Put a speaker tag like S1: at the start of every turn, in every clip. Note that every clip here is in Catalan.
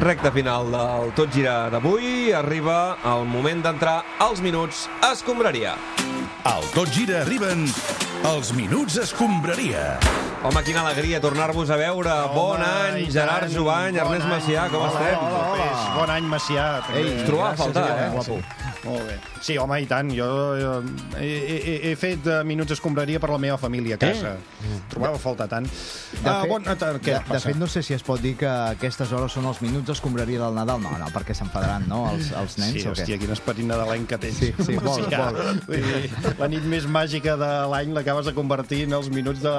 S1: Recte final del Tot Gira d'avui. Arriba el moment d'entrar als minuts escombraria.
S2: Al Tot Gira arriben els Minuts Escombraria.
S1: Home, quina alegria tornar-vos a veure. Home, bon any,
S3: i
S1: Gerard
S3: tant.
S1: Jovany,
S3: Bon
S1: Ernest
S3: any.
S1: Macià, com
S3: Hola,
S1: estem?
S3: Hola, hola. Bon any, Macià. també.
S1: Ei, ens trobava a
S3: Gràcies,
S1: faltar, eh,
S3: sí,
S1: guapo.
S3: sí. Molt bé. Sí, home, i tant. Jo eh, he, he, he fet eh, minuts escombraria per la meva
S1: Eh?
S3: família a casa.
S1: Mm.
S3: Trobava a faltar tant.
S4: De,
S3: Ah,
S4: fet,
S3: bon, eh, tant, què
S4: de, de
S3: passa?
S4: fet, no sé si es pot dir que aquestes hores són els minuts d'escombraria del Nadal. No, no, perquè s'enfadaran, no?, els, els nens
S3: Sí,
S4: o
S3: hòstia,
S4: què?
S3: quin esperit nadalenc que tens.
S4: Sí, sí, molt,
S3: Macià.
S4: molt.
S3: Vull dir, La nit més màgica de l'any l'acabes de convertir en els minuts de,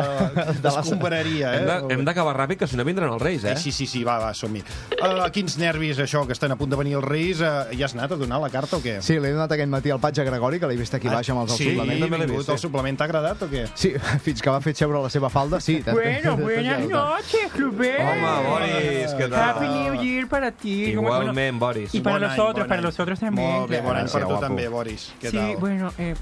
S3: de l'escombraria. Eh?
S1: Hem de- Hem d'acabar ràpid, que si no vindran els Reis, eh?
S3: Eh? Sí, sí, sí, va, va, som-hi. Uh, quins nervis, això, que estan a punt de venir els Reis. Uh, ja has anat a donar la carta o què?
S4: Sí, l'he donat aquest matí al Patge Gregori, que l'he vist aquí baix amb els
S3: Ah, sí,
S4: suplements.
S3: també l'he
S1: vist,
S3: vist.
S1: sí.
S3: El suplement t'ha agradat o què?
S4: Sí, fins que va fer seure la seva falda, sí.
S5: Bueno, buenas noches, Clubé.
S1: Home, Boris, què
S5: Happy
S1: tal?
S5: New Year para ti. como- bueno,
S1: Igualment, Boris.
S5: Y para
S3: Bon any,
S5: nosotros,
S3: bon
S5: para
S3: any.
S5: nosotros también.
S3: Molt bé,
S5: claro.
S3: bon any per
S4: Gràcies,
S3: tu
S4: guapo.
S3: també, Boris. Què
S5: Sí,
S3: tal?
S5: bueno, eh,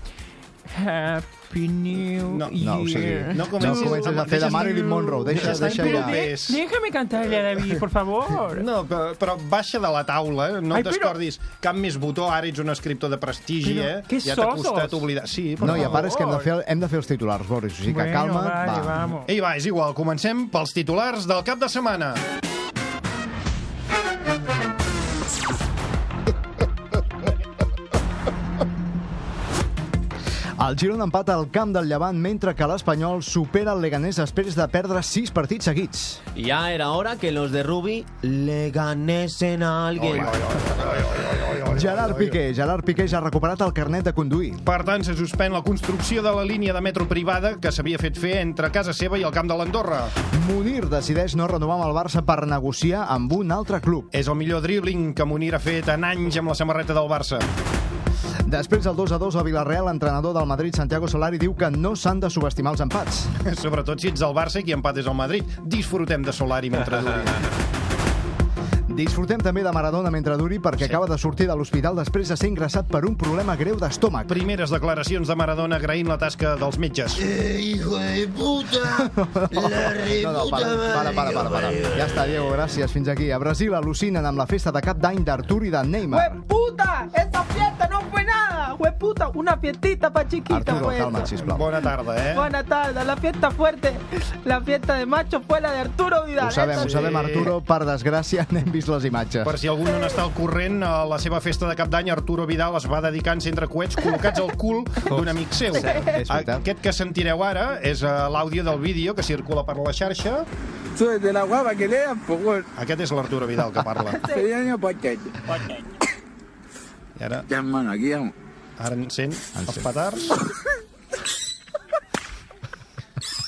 S5: Happy New
S3: No,
S5: Year.
S4: No, o sigui, no
S3: No
S4: comences,
S3: comencis-
S4: no comences a fer de
S3: deixes-
S4: Marilyn Monroe. Deixa,
S3: deixes
S4: deixa
S3: estar
S5: Pero
S4: ja.
S3: improdent.
S5: de-
S3: ves.
S5: déjame cantarle a David, por favor.
S3: No, però, però baixa de la taula, eh? no
S5: Ai,
S3: Ai,
S5: però-
S3: descordis cap més botó, ara ets un escriptor de prestigi,
S5: Però
S3: eh?
S5: que
S3: Ja t'ha
S5: sosos.
S3: costat oblidar. Sí, per
S4: No, i a part és que hem de fer,
S3: favor.
S4: hem de fer els titulars, Boris. O sigui que
S5: Bueno,
S4: calma,
S5: vale,
S4: va.
S5: vamos.
S3: Ei, va, és igual, comencem pels titulars del cap de setmana.
S4: El Girona empata al camp del Llevant mentre que l'Espanyol supera el Leganés després de perdre sis partits seguits.
S6: Ya era hora que los de Rubi le ganesen a alguien.
S4: Gerard Piqué. Gerard Piqué ja ha recuperat el carnet de conduir.
S3: Per tant, se suspèn la construcció de la línia de metro privada que s'havia fet fer entre casa seva i el camp de l'Andorra.
S4: Munir decideix no renovar amb el Barça per negociar amb un altre club.
S3: És el millor dribbling que Munir ha fet en anys amb la samarreta del Barça.
S4: Després del 2 a 2 a Villarreal, l'entrenador del Madrid, Santiago Solari, diu que no s'han de subestimar els empats.
S3: Sobretot si ets del Barça i qui empat és el Madrid. Disfrutem de Solari mentre duri.
S4: Disfrutem també de Maradona mentre duri perquè acaba de sortir de l'hospital després de ser ingressat per un problema greu d'estómac.
S3: Primeres declaracions de Maradona agraint la tasca dels metges.
S4: No, no, para, para, para, para, para. Ja està, Diego, gràcies. Fins aquí. A Brasil al·lucinen amb la festa de cap d'any d'Artur i de Neymar.
S5: ¡Hueputa! ¡Esa fiesta no fue nada! ¡Hueputa! Una fiestita pa' chiquita.
S4: Arturo,
S5: fue
S4: calma't,
S5: esa.
S4: sisplau.
S3: Bona tarda, eh?
S5: Buenas tardes, la fiesta fuerte, la fiesta de macho fue la de Arturo Vidal.
S4: Ho sabem, ho
S5: Esa-
S4: sabem, Arturo. Per desgràcia, n'hem vist les imatges.
S3: Per si algú no n'està al corrent, a la seva festa de cap d'any, Arturo Vidal es va dedicar a encendre coets col·locats al cul d'un amic seu.
S4: és veritat.
S3: Aquest que sentireu ara és eh, l'àudio del vídeo que circula per la xarxa.
S7: de la guava que le dan, pues bueno,
S3: Aquest és l'Arturo Vidal que parla.
S7: sería año paquete.
S3: I ara,
S7: Ya, hermano, aquí vamos.
S3: ara encén els petards.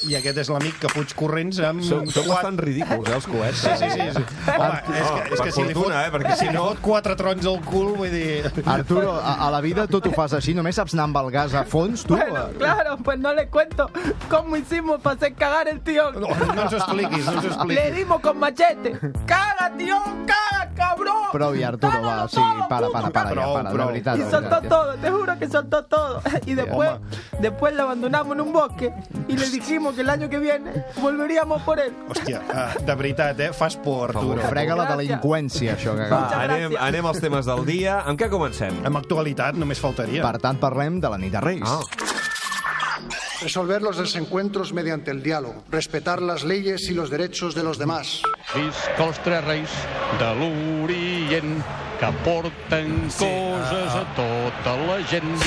S3: I aquest és l'amic que fuig corrents amb...
S1: Són són bastant ridículs, eh, els coets.
S3: Sí, sí, sí. sí. Home, és que, és
S1: per
S3: que si li fot,
S1: fortuna, eh, perquè
S3: si li fot quatre trons al cul, vull dir...
S4: Arturo, a, a la vida tot ho fas així, només saps anar amb el gas a fons, tu?
S5: Bueno, claro, pues no le cuento cómo hicimos para hacer cagar el tío.
S3: No, no ens ho expliquis, no ens ho
S5: Le
S3: expliquis.
S5: dimos con machete. ¡Caga, tío! ¡Caga, cabrón!
S4: Prou ja, Arturo, va,
S5: Dámelo
S4: o sigui,
S5: todo,
S4: para,
S5: puto,
S4: para, para,
S3: Prou,
S4: ja, para,
S3: prou.
S4: de veritat.
S5: Y
S4: de
S5: soltó
S4: veritat, ja.
S5: todo, te juro que soltó todo. Y después, después lo abandonamos en un bosque y le dijimos que el año que viene volveríamos por él.
S3: Hòstia, ah, de veritat, eh? Fas por, Arturo.
S4: Frega la
S5: Gràcies.
S4: delinqüència, això que
S1: Va,
S4: acaba.
S1: anem, anem als temes del dia. Amb què comencem?
S3: Amb actualitat només faltaria.
S4: Per tant, parlem de la nit de Reis.
S1: Ah.
S8: Resolver los desencuentros mediante el diálogo, respetar las leyes y los derechos de los demás.
S9: Visca els tres reis de l'Orient que porten sí, coses a tota la gent.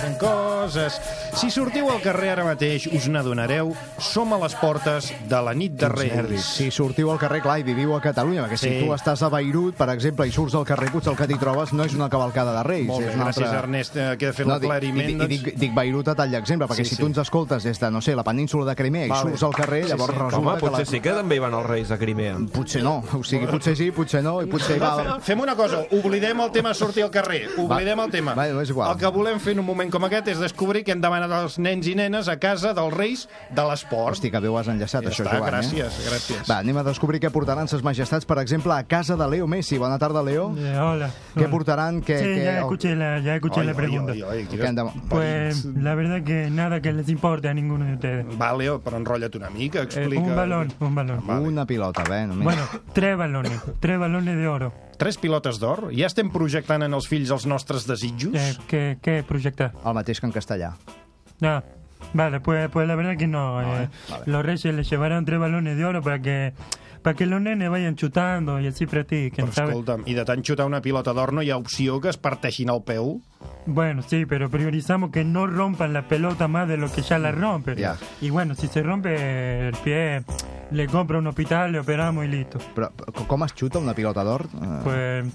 S3: En coses. Si sortiu al carrer ara mateix, us n'adonareu, som a les portes de la nit de Reis.
S4: Si sortiu al carrer, clar, i viviu a Catalunya, perquè si
S3: Sí.
S4: tu estàs a Beirut, per exemple, i surts al carrer, potser el que t'hi trobes no és una cavalcada de Reis.
S3: Molt bé,
S4: és una
S3: gràcies, Ernest, eh, que he fet l'aclariment.
S4: I, i, i
S3: doncs.
S4: dic, dic Beirut a tall d'exemple, perquè
S3: Sí,
S4: si
S3: sí.
S4: tu ens escoltes des de, no sé, la península de Crimea i
S3: Vale.
S4: surts al carrer, llavors
S3: sí.
S4: resulta
S1: Home,
S4: que...
S1: potser sí que també hi van els Reis a Crimea.
S4: Potser no, o sigui, potser sí, potser no, i potser hi va...
S3: Fem una cosa, oblidem el tema sortir al carrer, oblidem el tema.
S4: Va, no és igual.
S3: El que volem fer en un moment com aquest és descobrir què han demanat els nens i nenes a casa dels reis de l'esport.
S4: Hosti, que bé ho has enllaçat,
S3: Ja
S4: això,
S3: està,
S4: Joan.
S3: gràcies,
S4: eh?
S3: gràcies.
S4: Va, anem a descobrir què portaran ses majestats, per exemple, a casa de Leo Messi. Bona tarda, Leo.
S10: Eh, Hola.
S4: ¿Qué
S10: hola.
S4: portarán? ¿Qué-
S10: Sí,
S4: qué-
S10: ya escuché la, ya escuché
S3: Oi,
S10: la
S3: oi,
S10: pregunta.
S3: oi, oi,
S4: Que
S3: quina-
S4: han de...
S10: Pues la verdad que nada que les importe a ninguno de ustedes.
S3: Va, Leo, però enrotlla't una mica,
S10: Eh,
S3: explica...
S10: un balón, un balón.
S3: Vale.
S4: Una pilota, bé, només.
S10: Bueno, tres balones, tres balones de oro.
S3: Tres pilotes d'or? Ja estem projectant en els fills els nostres desitjos?
S10: Eh, ¿qué, ¿Qué proyectar?
S4: El mateix que en castellà.
S10: Ah, vale, pues, pues la verdad que no. eh, Los reyes les llevarán tres balones de oro para que, para que los nenes vayan chutando y así practiquen,
S3: Però
S10: ¿sabes?
S3: escolta'm, i de tant xutar una pilota d'or no hi ha opció que es parteixin el peu?
S10: Bueno, sí, pero priorizamos que no rompan la pelota más de lo que ya la rompen.
S4: Mm, Ya.
S10: Y bueno, si se rompe el pie, le compra un hospital, le operamos y listo.
S4: Però co- com es xuta una pilota d'or? Eh,
S10: Pues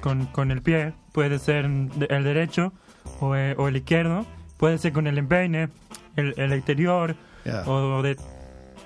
S10: con, con el pie, puede ser de- el derecho o, eh, o el izquierdo, puede ser con el empeine, el, el exterior
S3: Ya.
S10: o de,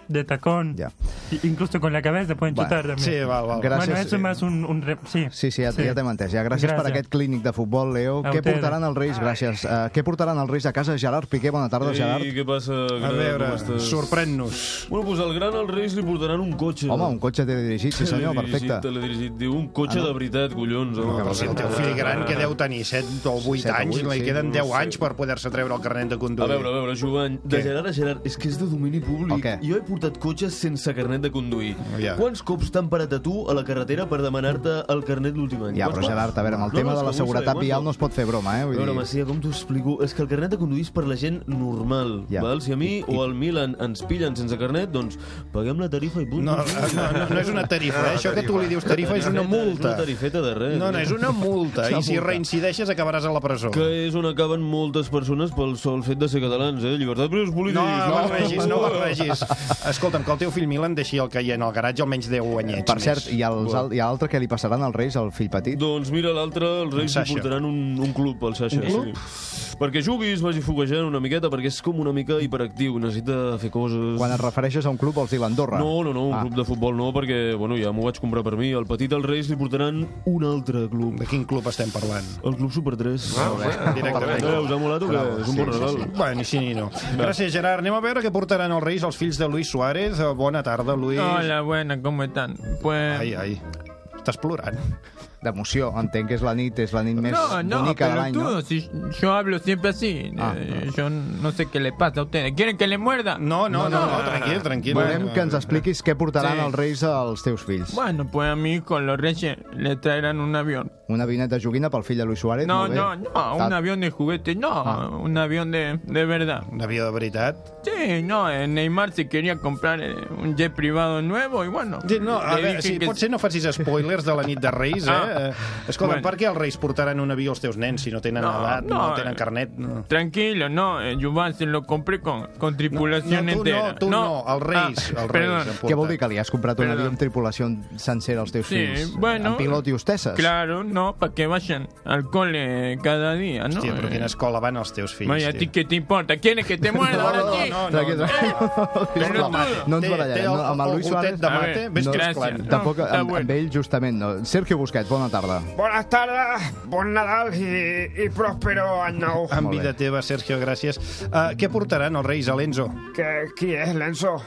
S10: de tacón.
S4: Ya.
S10: I- Incluso con la cabeza pueden
S4: Bueno,
S10: chutar también.
S3: Sí, val, val.
S4: Gràcies.
S10: Bueno, eso es más un... un re- sí.
S4: Sí, sí, ja, sí. ja t'hem entès. Ja, gràcies, gràcies per
S10: Gràcies.
S4: aquest clínic de futbol, Leo.
S10: A
S4: què
S10: ustedes.
S4: portaran els Reis? Gràcies. Uh, què portaran els Reis a casa? Gerard Piqué, bona tarda, Gerard.
S11: Ei, què passa?
S3: A
S11: gran?
S3: veure,
S11: Com estàs?
S3: sorprèn-nos.
S11: Bueno, doncs al gran al Reis li portaran un cotxe.
S4: Home, un cotxe té dirigit, sí senyor,
S11: Teledirigit,
S4: perfecte. Ah,
S11: teledirigit. Diu, un cotxe de veritat, collons. eh? home.
S3: Però si el teu fill gran, que deu tenir 7 o 8
S4: Set o
S3: anys,
S4: vuit,
S3: li
S4: sí,
S3: queden
S11: no
S3: 10
S11: sé.
S3: anys per poder-se treure el carnet de
S11: A
S3: conduir.
S11: veure, a veure, Joan, de
S3: Què?
S11: Gerard a Gerard, és que és de domini públic.
S4: El què?
S11: Jo he portat cotxes sense carnet de conduir.
S3: Ja.
S11: Quants cops t'han parat a tu a la carretera per demanar-te el carnet l'últim any?
S4: Ja, però
S11: Quants
S4: Gerard, a veure, amb el
S11: No,
S4: tema
S11: no,
S4: de
S11: és que
S4: la
S11: vull
S4: seguretat
S11: saber
S4: vial
S11: quants.
S4: no es pot fer broma, eh?
S11: A
S4: Vull
S11: veure,
S4: dir,
S11: Macia, com t'ho explico? És que el carnet de conduir és per la gent normal,
S4: Ja.
S11: val? Si a mi
S4: I-
S11: o al Milan ens pillen sense carnet, doncs paguem la tarifa i punt.
S3: No, no, no, no és una tarifa, eh? això que tu li dius tarifa és una
S11: És
S3: multa.
S11: una tarifeta de res.
S3: No, no, és una multa, i si reincideixes acabaràs a la presó.
S11: Que és on acaben moltes persones pel sol fet de ser catalans, eh? Llibertat per als
S3: No,
S11: polítics.
S3: no barregis, no barregis. Escolta'm, que el teu fill Milan deixi el que hi ha en el garatge almenys 10 anyets
S4: Per cert,
S3: més.
S4: i, els, al- i a l'altre què li passaran als Reis, al fill petit?
S11: Doncs mira, l'altre, els Reis li
S3: Sasha.
S11: portaran un, un club, al Sasha.
S3: Un club?
S11: Sí. Perquè juguis, vagi foguejant una miqueta, perquè és com una mica hiperactiu, necessita fer coses...
S4: Quan et refereixes a un club, vols dir l'Andorra?
S11: No, no, no, un
S4: Ah.
S11: ah. club de futbol no, perquè bueno, ja m'ho vaig comprar per mi. Al petit als Reis li portaran un altre club,
S3: De quin club estem parlant?
S11: el Club Super 3.
S4: Ah,
S3: Directament.
S11: Eh, us ha molat o què? És un bon regal.
S3: Bueno, sí ni no. Gràcies, Gerard. Anem a veure què portaran els Reis els fills de Luis Suárez. Eh, Bona tarda, Luis.
S11: Ah,
S5: Hola, buenas, ¿cómo están? Pues...
S3: Ai, ai. Estàs plorant.
S4: D'emoció, entenc que és la nit, és la nit més
S5: No, no,
S4: bonica de l'any, no?
S5: pelotudo, si yo hablo siempre así.
S4: Ah,
S5: Eh, Yo no sé qué les pasa a ustedes. ¿Quieren que le muerda?
S3: No, no, no, no, no tranquil, tranquil.
S4: Volem que ens expliquis què portaran
S5: Sí.
S4: els Reis als teus fills.
S5: Bueno, pues a mi hijo, los reyes, le traerán un avión.
S4: Una vinet de joguina pel fill de Luis Suárez?
S5: No,
S4: molt bé.
S5: no, no, un
S4: Ah,
S5: avión de juguete, no,
S4: Ah.
S5: un avión de, de verdad.
S3: Un avió de veritat.
S5: Sí, no, eh, Neymar se quería comprar eh, un jet privado nuevo y bueno.
S3: Sí, No, a
S5: le
S3: veure,
S5: dije
S3: si
S5: que-
S3: potser no facis spoilers de la nit de Reis, eh?
S5: Ah.
S3: Eh, Escolta,
S5: Bueno.
S3: per què els Reis portaran un avió als teus nens si no tenen
S5: No,
S3: edat, no,
S5: no,
S3: tenen
S5: eh,
S3: carnet? No.
S5: Tranquilo, no, eh, Juvan se lo compré con, con tripulación
S3: no, tú no,
S5: entera. ah,
S3: tú no, al Reis, al Reis,
S5: perdón.
S3: en
S4: Què vol dir que li has comprat un
S5: Perdó.
S4: avió amb tripulació sencera als teus
S5: Sí,
S4: fills?
S5: bueno.
S4: Amb pilot i hosteses?
S5: Claro, no, para que vayan al cole eh, cada día, ¿no? Eh.
S3: Hòstia, però quina escola van els teus fills,
S5: Vaya, ¿a ti
S3: tio?
S5: qué te importa? ¿Quieres que te muerda
S3: No,
S5: ahora
S3: no,
S5: sí?
S3: no,
S4: Tranquil,
S3: no.
S4: tranquil.
S5: Però tu-
S4: No, no ens
S3: Té- té
S4: barallarem.
S3: el-
S4: No, amb
S3: el
S4: el Luis
S3: gotet
S4: Suárez...
S3: de
S5: A
S3: mate,
S5: ver,
S3: ves que
S5: gràcies.
S3: és clar.
S4: Tampoc,
S5: Està
S4: amb,
S5: bueno.
S4: amb ell justament no. Sergio Busquets, bona tarda.
S12: Buenas tardes, bon Nadal i, i pròspero any nou.
S3: En
S4: Oh, Molt bé.
S3: vida teva, Sergio, gràcies. Uh, què portaran els Reis a l'Enzo?
S12: Que, qui és l'Enzo?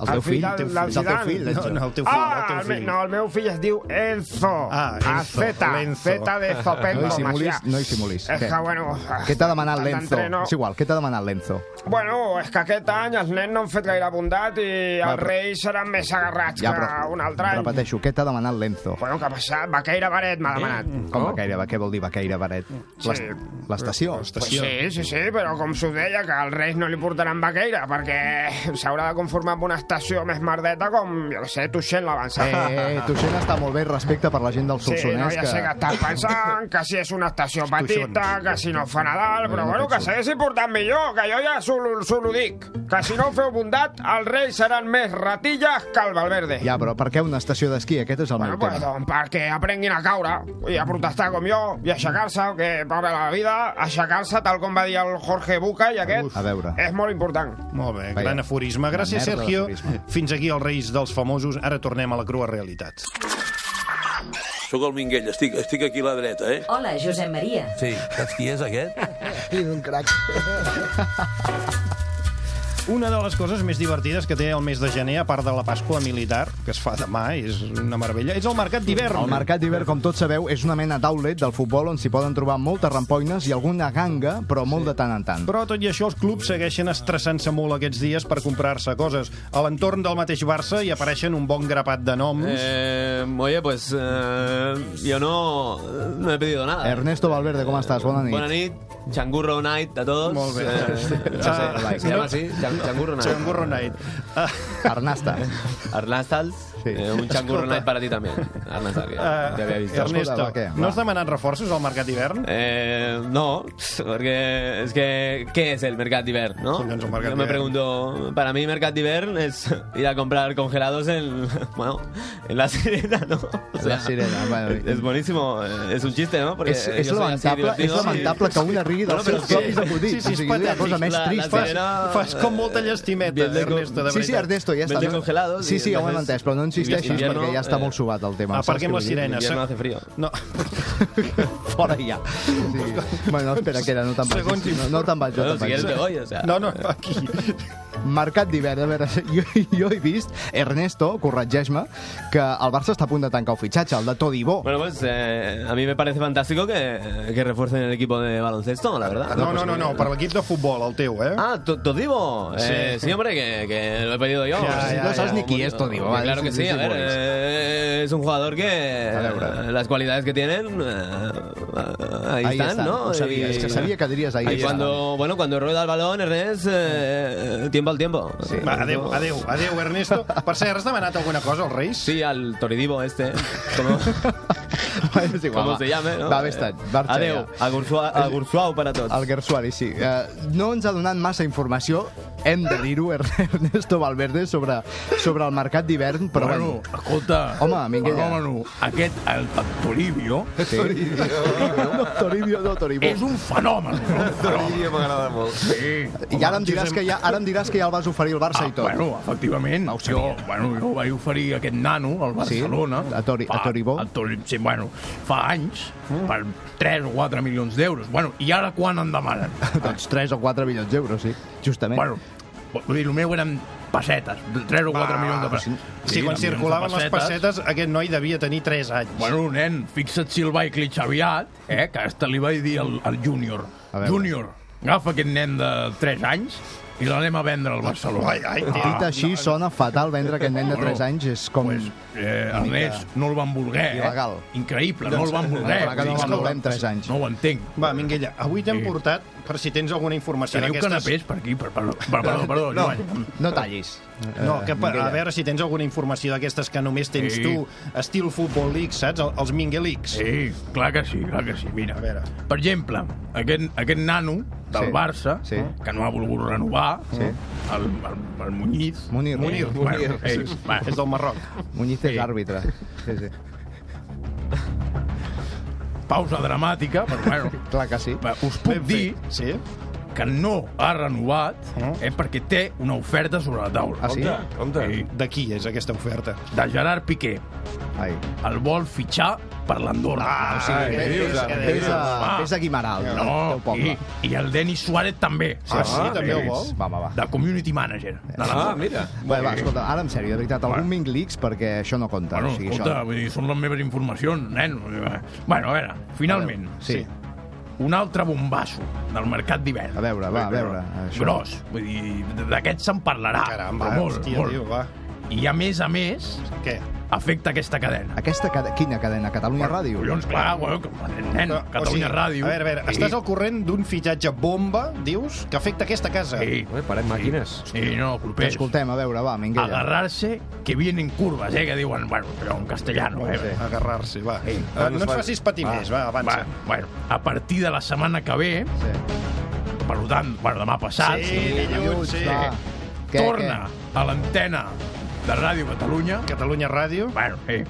S4: El teu fill?
S12: final,
S4: teu
S12: la
S4: fill. És el teu
S12: Zidane.
S4: fill,
S3: No,
S4: l'Enzo.
S3: no, el teu fill,
S12: Ah,
S3: el
S12: el
S3: teu
S12: me,
S3: fill.
S12: no, el meu fill es diu Enzo.
S3: Ah, Enzo,
S12: Z,
S3: l'Enzo.
S12: Z de Zopelco,
S4: No hi simulis,
S12: Macià.
S4: no hi simulis.
S12: És
S4: Què?
S12: que, bueno...
S4: Què t'ha demanat l'Enzo?
S12: t'entreno.
S4: És igual, què t'ha demanat l'Enzo?
S12: Bueno, és que aquest any els nens no han fet gaire bondat i
S4: Va,
S12: els
S4: però-
S12: reis seran més agarrats que un altre any.
S4: repeteixo, què t'ha demanat l'Enzo? Eh?
S12: Bueno, que ha passat? Baqueira Baret
S3: Eh?
S12: m'ha demanat.
S4: Com Baqueira, què vol dir Baqueira Baret? L'est- L'estació?
S12: Pues sí, sí, sí, però com s'ho deia, que els Reis no li portaran vaqueira, perquè s'haurà de conformar amb una estació més merdeta com, jo què sé, Tuixent
S4: Eh,
S12: l'avançada.
S4: eh, tu sent està molt bé respecte per la gent del
S12: Sí, no,
S4: Solsonès.
S12: ja sé que estàs pensant que si és una estació petita, que si no fa Nadal, però
S4: no
S12: bueno, que
S4: penso.
S12: s'hagués important millor, que jo ja s'ho ho dic. Que si no feu bondat, els reis seran més ratilles que el Valverde.
S4: Ja, però per què una estació d'esquí? Aquest és el meu
S12: Bueno, pues,
S4: tema.
S12: doncs, perquè aprenguin a caure i a protestar com jo i a aixecar-se, que pobre la vida, aixecar-se tal com va dir el Jorge Buca i aquest
S4: A veure.
S12: és molt important.
S3: Molt bé,
S4: Vaja.
S3: gran aforisme. Gràcies,
S4: Una merda
S3: Sergio.
S4: d'aforisme.
S3: Fins aquí els Reis dels famosos. Ara tornem a la crua realitat.
S9: Sóc el Minguell, estic, estic aquí a la dreta, eh?
S13: Hola, Josep Maria.
S9: Sí, saps qui és aquest?
S13: fill d'un crac.
S3: Una de les coses més divertides que té el mes de gener, a part de la Pasqua militar, que es fa demà, és una meravella, és el mercat d'hivern.
S4: El mercat d'hivern, com tots sabeu, és una mena d'outlet del futbol on s'hi poden trobar moltes rampoines i alguna ganga, però molt de tant en tant.
S3: Però, tot i això, els clubs segueixen estressant-se molt aquests dies per comprar-se coses. A l'entorn del mateix Barça hi apareixen un bon grapat de noms.
S11: Eh, oye, pues eh, yo no, no he pedido nada.
S3: Eh,
S4: Ernesto Valverde, com estàs? Bona nit.
S11: Bona nit, Changurro Night a todos.
S4: Molt bé.
S11: Eh, no
S4: Ah,
S11: sé, se
S4: no.
S11: llama así, Chan- Changurro Night.
S3: Changurro Night.
S4: Arnasta.
S11: Arnastals, eh, un Changurro
S3: Escolta.
S11: Night para ti también. Arnastal, que
S3: Eh,
S11: te había visto.
S3: Ernesto, no has demanat reforços al mercat d'hivern?
S11: Eh, no, porque es que, ¿qué es el Mercat d'Hivern, no? Yo me
S3: d'hivern.
S11: pregunto, para mí Mercat d'Hivern es ir a comprar congelados en, bueno, en la sirena, ¿no? O sea,
S4: La Sirena, bueno.
S11: es, es buenísimo, eh, es un chiste, ¿no? Porque
S4: És,
S11: yo
S4: és
S11: soy así
S4: lamentable, és
S11: divertido.
S4: lamentable que un arribi dels
S11: Bueno, però
S4: seus
S11: sí.
S4: propis acudits.
S11: Sí, sí, és
S4: O sigui, la
S11: patètic.
S4: cosa més
S11: La- la
S4: trista.
S11: sirena,
S3: Fas com molta llestimeta,
S11: vende con-
S3: Ernesto, de
S4: Sí, sí,
S3: veritat.
S4: Ernesto, ja està.
S11: Vende congelados
S4: Sí,
S11: y
S4: sí, ja ho hem
S11: entonces-
S4: entès, però no insisteixis
S11: Invierno,
S4: perquè ja està
S11: eh,
S4: molt subat el tema. saps què
S11: aparquem la
S4: vull dir?
S11: sirena, Invierno saps? hace frío.
S3: eh. No.
S4: Fora ja. Sí. Bueno, espera, que era, no te'n
S3: Segons
S4: vagis. No, no te'n vaig, no te'n vaig.
S3: No, no, aquí.
S4: Mercat d'hivern, a veure, jo, jo he vist, Ernesto, corregeix-me, que el Barça està a punt de tancar el fitxatge, el de Todibó.
S11: Bueno, pues eh, a mí me parece fantástico que, que refuercen el equipo de baloncesto, la verdad. Pues,
S3: No, no, no, no, per l'equip de futbol, el teu, eh?
S11: Ah, Todibo. Eh, sí.
S3: Sí.
S11: hombre, que, que lo he pedido yo.
S3: Ya, ya, No sabes ya. ni quién es Todibo,
S11: Hombre,
S3: vale,
S11: Claro que
S3: sí,
S11: sí,
S3: sí,
S11: a ver.
S3: sí,
S11: eh, es un jugador que eh, las cualidades que tienen eh, ahí,
S4: Ahí
S11: están,
S4: están,
S11: ¿no?
S4: ho sabia,
S11: Y-
S4: és que sabia que diries ahí
S11: y
S4: están.
S11: cuando, bueno, cuando rueda el balón, Ernest, eh, tiempo al tiempo.
S3: Va, adeu, adeu, adeu, Ernesto. Per cert, has demanat alguna cosa als Reis?
S11: Sí, al Toridivo este. Como,
S4: és igual,
S11: como
S4: va.
S11: se llame, ¿no?
S4: Va, bé estat, marxa
S11: Adeu,
S4: ja.
S11: Agursuau para tots.
S4: El Gersuari, sí. Eh, no ens ha donat massa informació, hem de dir-ho, Ernesto Valverde, sobre, sobre el mercat d'hivern, però...
S14: Bueno,
S4: bueno,
S14: escolta...
S4: Home, Minguella.
S14: Bueno, aquest, el, el Toribio...
S4: Sí. Toribio. No, Toribio, no, Toribio.
S14: És un fenomen.
S1: Toribio m'agrada molt.
S14: Sí.
S4: I ara em diràs que ja, ara em diràs que ja el vas oferir al Barça i tot.
S14: Ah,
S4: Ah,
S14: Bueno, efectivament, jo, bueno, jo vaig oferir aquest nano al
S4: Sí?
S14: Barcelona.
S4: A Tori- a Toribó?
S14: A Tori, sí, bueno, fa anys, per 3 o 4 milions d'euros. Bueno, i ara quan en demanen?
S4: Doncs 3 o 4 milions d'euros, sí, justament.
S14: Bueno, vull dir, el meu eren pessetes, 3 o 4 milions de pessetes.
S3: Sí, quan
S14: milions de
S3: circulaven les pessetes, aquest noi devia tenir 3 anys.
S14: Bueno, nen, fixa't si el vaig clitxar aviat, eh, que hasta li vaig dir al, al júnior. Júnior, agafa aquest nen de 3 anys i l'anem a vendre al Barcelona. Ai, ah, ai,
S4: Dit així, sona fatal vendre aquest nen de 3 anys, és com...
S14: Eh,
S4: Una mica
S14: Ernest, no el van voler, eh?
S4: il·legal.
S14: Increïble, no el van voler.
S4: Clar que no el van voler amb 3 anys.
S14: No ho entenc.
S3: Va, Minguella, avui t'hem
S14: Sí.
S3: portat, per si tens alguna informació
S14: Teniu
S3: d'aquestes...
S14: canapés per aquí? Per, per, per, perdó, perdó,
S3: No.
S14: Joan.
S4: No tallis.
S3: No, que per, a veure si tens alguna informació d'aquestes que només tens
S14: Sí.
S3: tu, estil Futbol League, saps? El- Els Minguelics.
S14: Sí, clar que sí, clar que sí. Mira, a veure. per exemple, aquest, aquest nano del
S3: Sí.
S14: sí. Barça,
S3: Sí.
S14: sí. que no ha volgut renovar, sí. el, el, el Muñiz...
S4: Munir.
S14: Munir.
S4: Munir.
S14: Bueno, ell, va.
S3: És del Marroc.
S4: Muñiz és àrbitre. Sí, sí.
S14: Pausa dramàtica, però bueno...
S4: clar que sí.
S14: Va, us puc dir
S3: sí?
S14: que no ha renovat eh, perquè té una oferta sobre la
S4: Ah,
S14: taula. Compte,
S3: Compte. De qui és aquesta oferta?
S14: De Gerard Piqué.
S4: Ai.
S14: El vol fitxar per l'Andorra. Ah.
S4: Ah, o sigui, què dius, ara? Ves a- ves a Guimarães, al teu
S14: No, i,
S4: poble.
S14: i el Denis Suárez també.
S4: Ah, sí? També ho vol?
S14: Va,
S4: va, va.
S14: De community manager. De
S4: Ah,
S14: l'Andorra.
S4: mira. Bé, va, escolta, ara en sèrio, de veritat, algun minglix, perquè això no compta.
S14: Bueno,
S4: o sigui,
S14: escolta,
S4: això...
S14: vull dir, són les meves informacions, nen. Bueno, a veure, finalment.
S4: Sí.
S14: Un altre bombasso del mercat d'hivern. A
S4: veure, va, a veure, això.
S14: Gros. Vull dir, d'aquest se'n parlarà.
S3: Caramba,
S14: però molt,
S3: hòstia,
S14: molt.
S3: tio, va.
S14: I a més a més...
S3: Què?
S14: Afecta aquesta cadena.
S4: Aquesta cadena... Quina cadena? Catalunya Ràdio?
S14: Collons,
S4: Doncs
S14: clar, bueno, que- nen,
S3: Però,
S14: Catalunya Ràdio.
S3: A veure, a veure,
S14: Sí.
S3: estàs al corrent d'un fitxatge bomba, dius, que afecta aquesta casa.
S14: Sí.
S3: Ué,
S1: parem màquines.
S14: Sí, no, culpers.
S4: Escoltem, a veure, va, Minguella.
S14: Agarrar-se, que vienen curvas, eh, que diuen, bueno, però en castellano, eh.
S3: Sí. Agarrar-se, va.
S14: Sí.
S3: Ah, no ens facis patir més, va, avança.
S14: Va, bueno, a partir de la setmana que ve, sí. per tant, bueno, demà passat,
S3: Sí, dilluns, sí. Va. Què,
S14: torna a l'antena de Ràdio Catalunya.
S3: Catalunya Ràdio.
S14: Bueno, sí.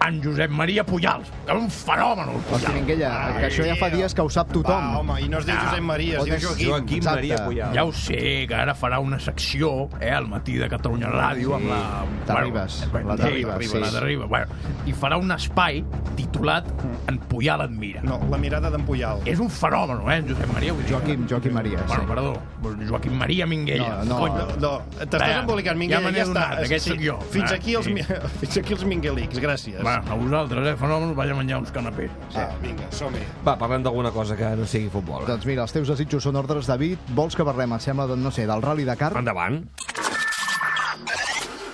S14: en Josep Maria Pujals. que Era un fenomen, el Pujals.
S4: Minguella, que això ja fa dies que ho sap tothom. Ah,
S14: Va, Ah, home, i no es diu
S1: Ah,
S14: Josep Maria, es
S4: O
S14: diu
S4: des-
S14: Joaquim.
S1: Joaquim
S4: Exacte.
S1: Maria Pujals.
S14: Ja ho sé, que ara farà una secció eh, al matí de Catalunya Ràdio amb la... eh,
S4: Sí, t'arribes, la
S14: sí,
S4: t'arribes, sí.
S14: La d'arriba, bueno. I farà un espai titulat En Pujal et mira. No, la mirada d'en Pujal. És un fenomen, eh, en Josep Maria? Vull dir.
S4: Joaquim, Joaquim Maria,
S14: Bueno,
S4: sí.
S14: perdó, Joaquim Maria Minguella.
S4: No, no.
S3: No, t'estàs
S14: Vinga,
S3: embolicant, Minguella,
S14: Ja me
S3: ja
S14: n'he
S3: està.
S14: adonat, aquest
S3: Sí,
S14: sóc jo.
S3: fins
S14: Ah,
S3: aquí els mi-
S14: fins aquí els minguelics, gràcies. Va, a vosaltres, eh, fenòmenos, vaig a menjar uns canapés. Sí. Ah, vinga, som-hi.
S1: Va, parlem d'alguna cosa que no sigui futbol.
S4: Doncs mira, els teus desitjos són ordres, David. Vols que parlem, em sembla, doncs, no sé, del Rally Dakar?
S1: Endavant.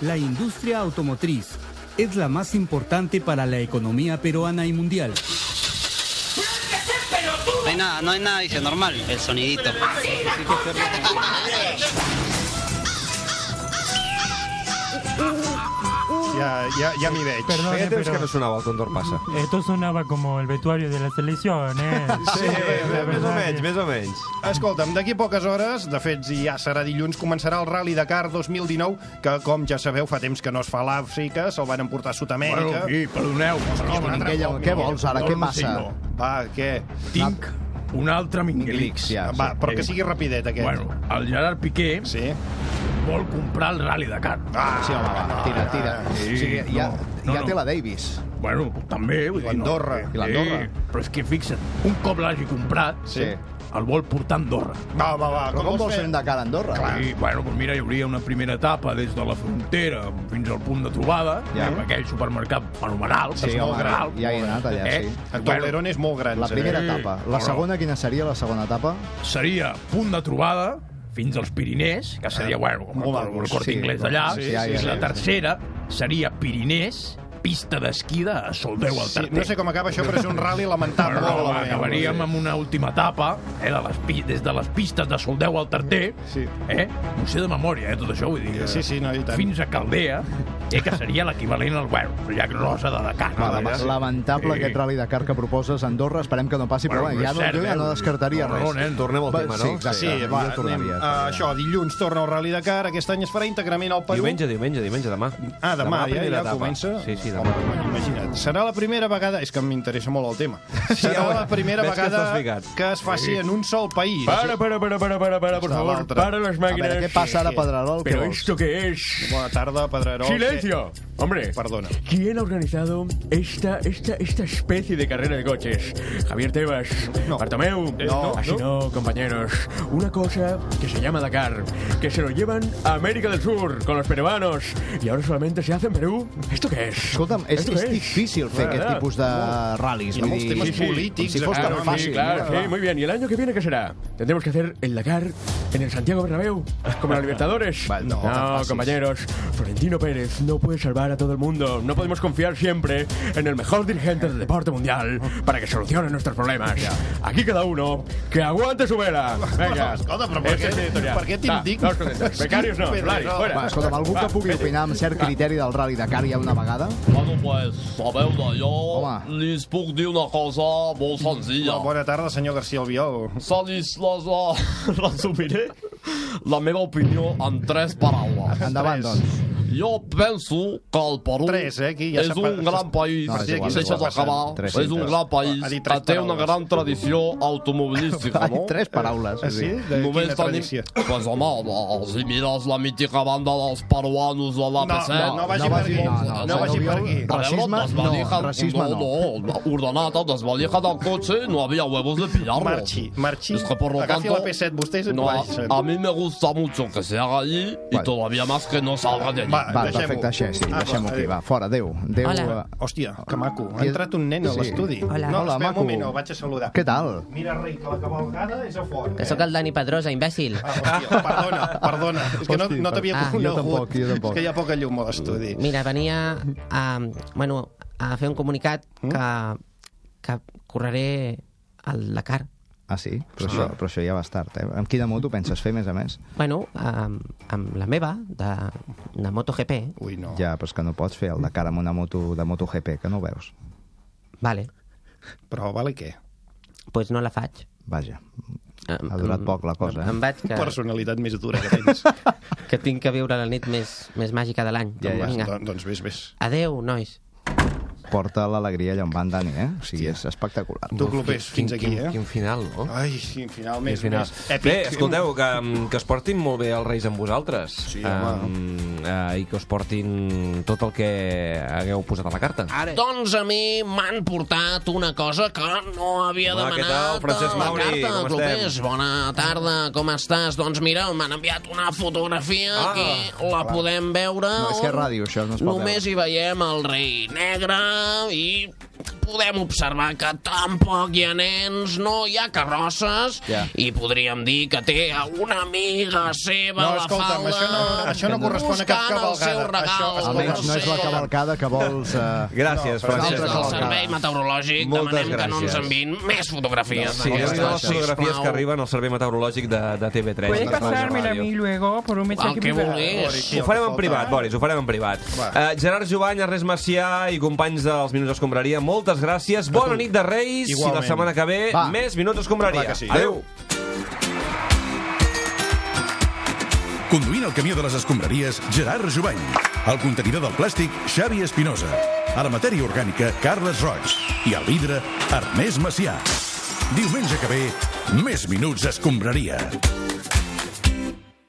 S13: La industria automotriz es la más importante para la economía peruana y mundial.
S15: No hay nada, no hay nada, dice normal, el sonidito.
S3: Ja, ja, ja m'hi veig.
S10: Perdona,
S1: Feia temps
S10: però-
S1: que no sonava el Tondor Passa.
S10: Esto sonaba como el vestuario de la selección, ¿eh?
S3: Sí,
S10: la
S1: Més o
S10: verdad
S1: menys,
S10: que-
S1: més o menys.
S3: Escolta'm, d'aquí a poques hores, de fet ja serà dilluns, començarà el Rally Dakar 2019, que com ja sabeu fa temps que no es fa a l'Àfrica, se'l van emportar a Sud-amèrica...
S14: Bueno, sí, perdoneu. Perdona,
S4: Minguella,
S14: altre
S4: què
S14: cop,
S4: vols ara?
S14: no,
S4: Què
S14: no sé
S4: passa?
S14: jo.
S3: Va, què?
S14: Tinc un altre Minguelix.
S3: ja, Va, sí. però que sigui rapidet, aquest.
S14: Bueno, el Gerard Piqué sí. vol comprar el Rally Dakar. Ah,
S4: sí, home, va, tira, tira. O sigui, ja- ja té la
S14: Davis. Bueno, també. vull dir,
S4: l'Andorra.
S14: No,
S4: I l'Andorra.
S14: Sí, però és que fixa't, un cop l'hagi comprat, sí. el vol portar a Andorra.
S3: Va, va, va.
S4: Però com vols fer un Dakar a Andorra?
S14: Clar. I, bueno, doncs mira, hi hauria una primera etapa des de la frontera fins al punt de trobada,
S4: Ja.
S14: ja. amb aquell supermercat fenomenal,
S4: Sí,
S14: que és molt
S4: home,
S14: gran. Eh?
S4: ja hi he anat allà, sí.
S3: El Toblerone és molt gran. eh?
S4: La primera etapa. La segona, quina seria la segona etapa?
S14: seria punt de trobada fins als Pirinès, que seria, bueno, com
S4: Ah. Molt
S14: el, el,
S4: maco,
S14: el cort
S4: sí,
S14: inglès d'allà.
S4: sí,
S14: Sí,
S4: sí,
S14: sí,
S4: sí,
S14: la
S4: sí.
S14: tercera seria Pirinès, pista d'esquí de Soldeu al
S3: Sí,
S14: Tarter.
S3: no sé com acaba això, però és un rally lamentable.
S14: Bueno,
S3: Molt
S14: va,
S3: malament.
S14: acabaríem
S3: Sí.
S14: amb una última etapa eh, de les, pi- des de les pistes de Soldeu al Tarter. Sí. Eh? Ho sé de memòria, eh, tot això, vull dir.
S3: Sí, sí, no, i tant.
S14: Fins a Caldea, eh, que seria l'equivalent al bueno, ja rosa de Dakar.
S4: Va,
S3: Ah,
S4: la- lamentable
S14: Sí.
S4: aquest rally Dakar que proposes a Andorra, esperem que no passi, però bueno, ja no, jo
S14: eh?
S3: eh?
S4: ja no descartaria res. Va, Sí, exacte,
S3: sí, va,
S4: jo
S3: anem,
S4: tornaria.
S3: a això, dilluns torna el Rally Dakar, aquest any es farà íntegrament al Perú.
S1: Diumenge, diumenge, diumenge, demà.
S3: Ah, demà, ja-
S1: primera
S3: ja
S1: etapa.
S3: comença?
S1: Sí, sí, demà.
S3: Imagina't. Serà la primera vegada... És que m'interessa molt el tema. Serà
S1: ja ho-
S3: la primera
S1: veig que
S3: vegada
S1: estàs
S3: que,
S1: ficat.
S3: es faci
S1: Sí.
S3: en un sol país.
S1: Para,
S14: para, para, para, para, para
S1: por favor, para les màquines. A veure, què passa ara, Pedrarol, què vols?
S14: esto qué es?
S3: Bona tarda, Pedrarol.
S14: Silencio, hombre.
S3: Perdona.
S11: ¿Quién ha organizado esta, esta, esta especie de carrera de coches? Javier Tebas, Bartomeu,
S14: Eh, no,
S11: así no, compañeros. Una cosa que se llama Dakar, que se lo llevan a América del Sur con los peruanos y ahora solamente se hace en Perú. ¿Esto qué es?
S4: Escolta'm, és,
S11: ¿Esto
S4: és
S11: qué
S4: difícil fer
S11: Bueno,
S4: aquest
S11: nada.
S4: tipus de ral·lis. vull dir, Com si fos
S11: claro,
S4: tan fàcil.
S11: eh? Sí, claro,
S4: no?
S11: sí, muy bien. ¿Y el año que viene qué será? Tendremos que hacer el Dakar en el Santiago Bernabéu, como los Libertadores.
S4: Ah, no, tan fácil.
S11: compañeros. Florentino Pérez no puede salvar a todo el mundo. No podemos confiar siempre en el mejor dirigente del deporte mundial para que solucione nuestros problemas. Aquí cada uno que aguante su vela. Venga.
S3: Escolta, però per
S11: Ese
S3: què-
S11: es mi editorial.
S3: per què
S11: Va,
S3: t'indignes?
S11: no os contestéis. Becarios no,
S3: Pedro,
S11: Blari,
S3: no.
S11: fuera.
S4: Va, escolta'm, algú que pugui opinar amb cert criteri del Rally Dakar ja una vegada?
S16: Bueno, pues, a veure, jo Home. li puc dir una cosa molt senzilla.
S3: Bona tarda, senyor García Albiol.
S16: Se li les, eh, resumiré la meva opinió en tres paraules.
S4: Endavant, doncs.
S16: Jo penso que el Perú
S3: Tres, eh, aquí ja
S16: és
S3: s'ha
S16: un
S3: pa-
S16: gran país,
S3: No, és igual, és
S16: deixa't
S3: igual.
S16: acabar,
S3: Tres,
S16: és un
S3: tres.
S16: gran
S3: Ha
S16: país
S3: dit
S16: que
S3: tres
S16: té una
S3: paraules.
S16: gran tradició automobilística, no?
S4: Tres paraules.
S16: Ah, sí? De Només
S3: quina
S16: tenim...
S3: tradició?
S16: Pues home, home, si mires la mítica banda dels peruanos de la
S3: No,
S16: PC...
S3: no, no vagi No per vagi- aquí. no, no, no vagi per aquí. Racisme,
S16: desvalija-
S3: no, racisme
S16: no, no, ordenat, desvalija del cotxe, no havia huevos de pillarlo.
S3: Marchi, marchi.
S16: Es que por lo
S3: Agafi
S16: tanto,
S3: la P7 vostè i se'n
S16: no,
S3: vagi.
S16: a mí me gusta mucho que se haga allí y todavía más que no salga de allí.
S4: Va, perfecte, així, sí,
S3: Ah,
S4: deixem-ho
S3: eh,
S4: aquí, va, fora, adéu. adéu
S3: Hola.
S4: eh,
S3: Hòstia, que maco. Ha entrat un nen a
S4: Sí.
S3: l'estudi.
S4: Hola.
S3: No,
S4: Hola,
S3: espera
S4: maco.
S3: un moment, no, vaig a saludar.
S4: Què tal?
S3: Mira, rei, que la cavalgada és a fora.
S17: Que sóc el Dani Pedrosa, imbècil.
S3: Ah, Perdona, perdona. És que no,
S17: Hosti,
S3: no t'havia
S17: per- Ah, jo
S3: conegut.
S17: tampoc, jo tampoc.
S3: És que hi ha poca llum a l'estudi.
S17: Mira, venia a, bueno, a fer un comunicat
S4: Mm.
S17: que, que correré al Dakar.
S4: Ah, sí? Però,
S17: Sí.
S4: Això, però això ja vas tard, eh? Amb quina moto penses fer, a més a més?
S17: Bueno, amb, amb la meva, de, de MotoGP.
S3: Ui, no.
S4: Ja, però és que no pots fer el Dakar amb una moto de MotoGP, que no ho veus.
S17: Vale.
S3: Però vale què?
S17: Pues no la faig.
S4: Vaja, ha durat
S17: em-
S4: poc la cosa, eh?
S17: Em vaig que...
S3: Personalitat més dura que tens.
S17: que tinc que viure la nit més, més màgica de l'any.
S3: Ja, ja.
S17: Vinga.
S3: Doncs, doncs vés, vés.
S17: Adeu, nois.
S4: porta l'alegria allà on van Dani, eh? O sigui, és espectacular.
S3: Tu, Clopés, fins aquí, eh?
S1: Quin final, no?
S3: Ai, quin final més,
S1: Quin final.
S3: més
S1: Bé, escolteu, que, mm, que es portin molt bé els Reis amb vosaltres. Sí,
S3: home.
S1: eh, I que us portin tot el que hagueu posat a la carta.
S6: Doncs a mi m'han portat una cosa que no havia
S1: Hola, què
S6: demanat
S1: tal, Francesc
S6: a la
S1: Mauri?
S6: carta,
S1: Com estem?
S6: Clopés. Bona tarda, com estàs? Doncs mira, m'han enviat una fotografia
S4: Ah,
S6: que la podem veure
S4: No, és que és
S6: on
S4: ràdio, això, no es pot
S6: només hi veiem el rei negre i podem observar que tampoc hi ha nens, no hi ha carrosses
S4: Ja.
S6: i podríem dir que té a una amiga seva
S3: No,
S6: a la
S3: escolta'm,
S6: falda
S3: això no- això no correspon a cap
S6: buscant el seu
S3: cavalgada.
S6: regal.
S3: Això-
S4: Almenys no és la cavalcada que vols... Eh... No,
S1: Gràcies,
S4: però
S1: Francesc.
S4: nosaltres
S6: El servei meteorològic
S1: Moltes
S6: demanem que no ens
S1: gràcies.
S6: enviïn més fotografies.
S1: Sí, és una de les fotografies que arriben al servei meteorològic de, de TV3.
S6: ¿Puede
S1: de Catalunya
S6: pasármela a
S1: Ràdio.
S6: mí
S10: luego por un
S6: mensaje que privado? vulguis.
S1: Ho farem en privat, Boris, ho farem en privat. Uh, Gerard Jovany, Ernest Macià i companys dels Minuts Escombraria, moltes gràcies. Bona nit de Reis
S14: Igualment.
S1: i la setmana que ve
S14: Va.
S1: més Minuts Escombraria.
S14: Clar que sí.
S1: Adéu.
S14: Conduint el camió de les escombraries, Gerard Jubany. El contenidor del plàstic, Xavi Espinosa. A la matèria orgànica, Carles Roig. I al vidre, Ernest Macià. Diumenge que ve, més Minuts Escombraria.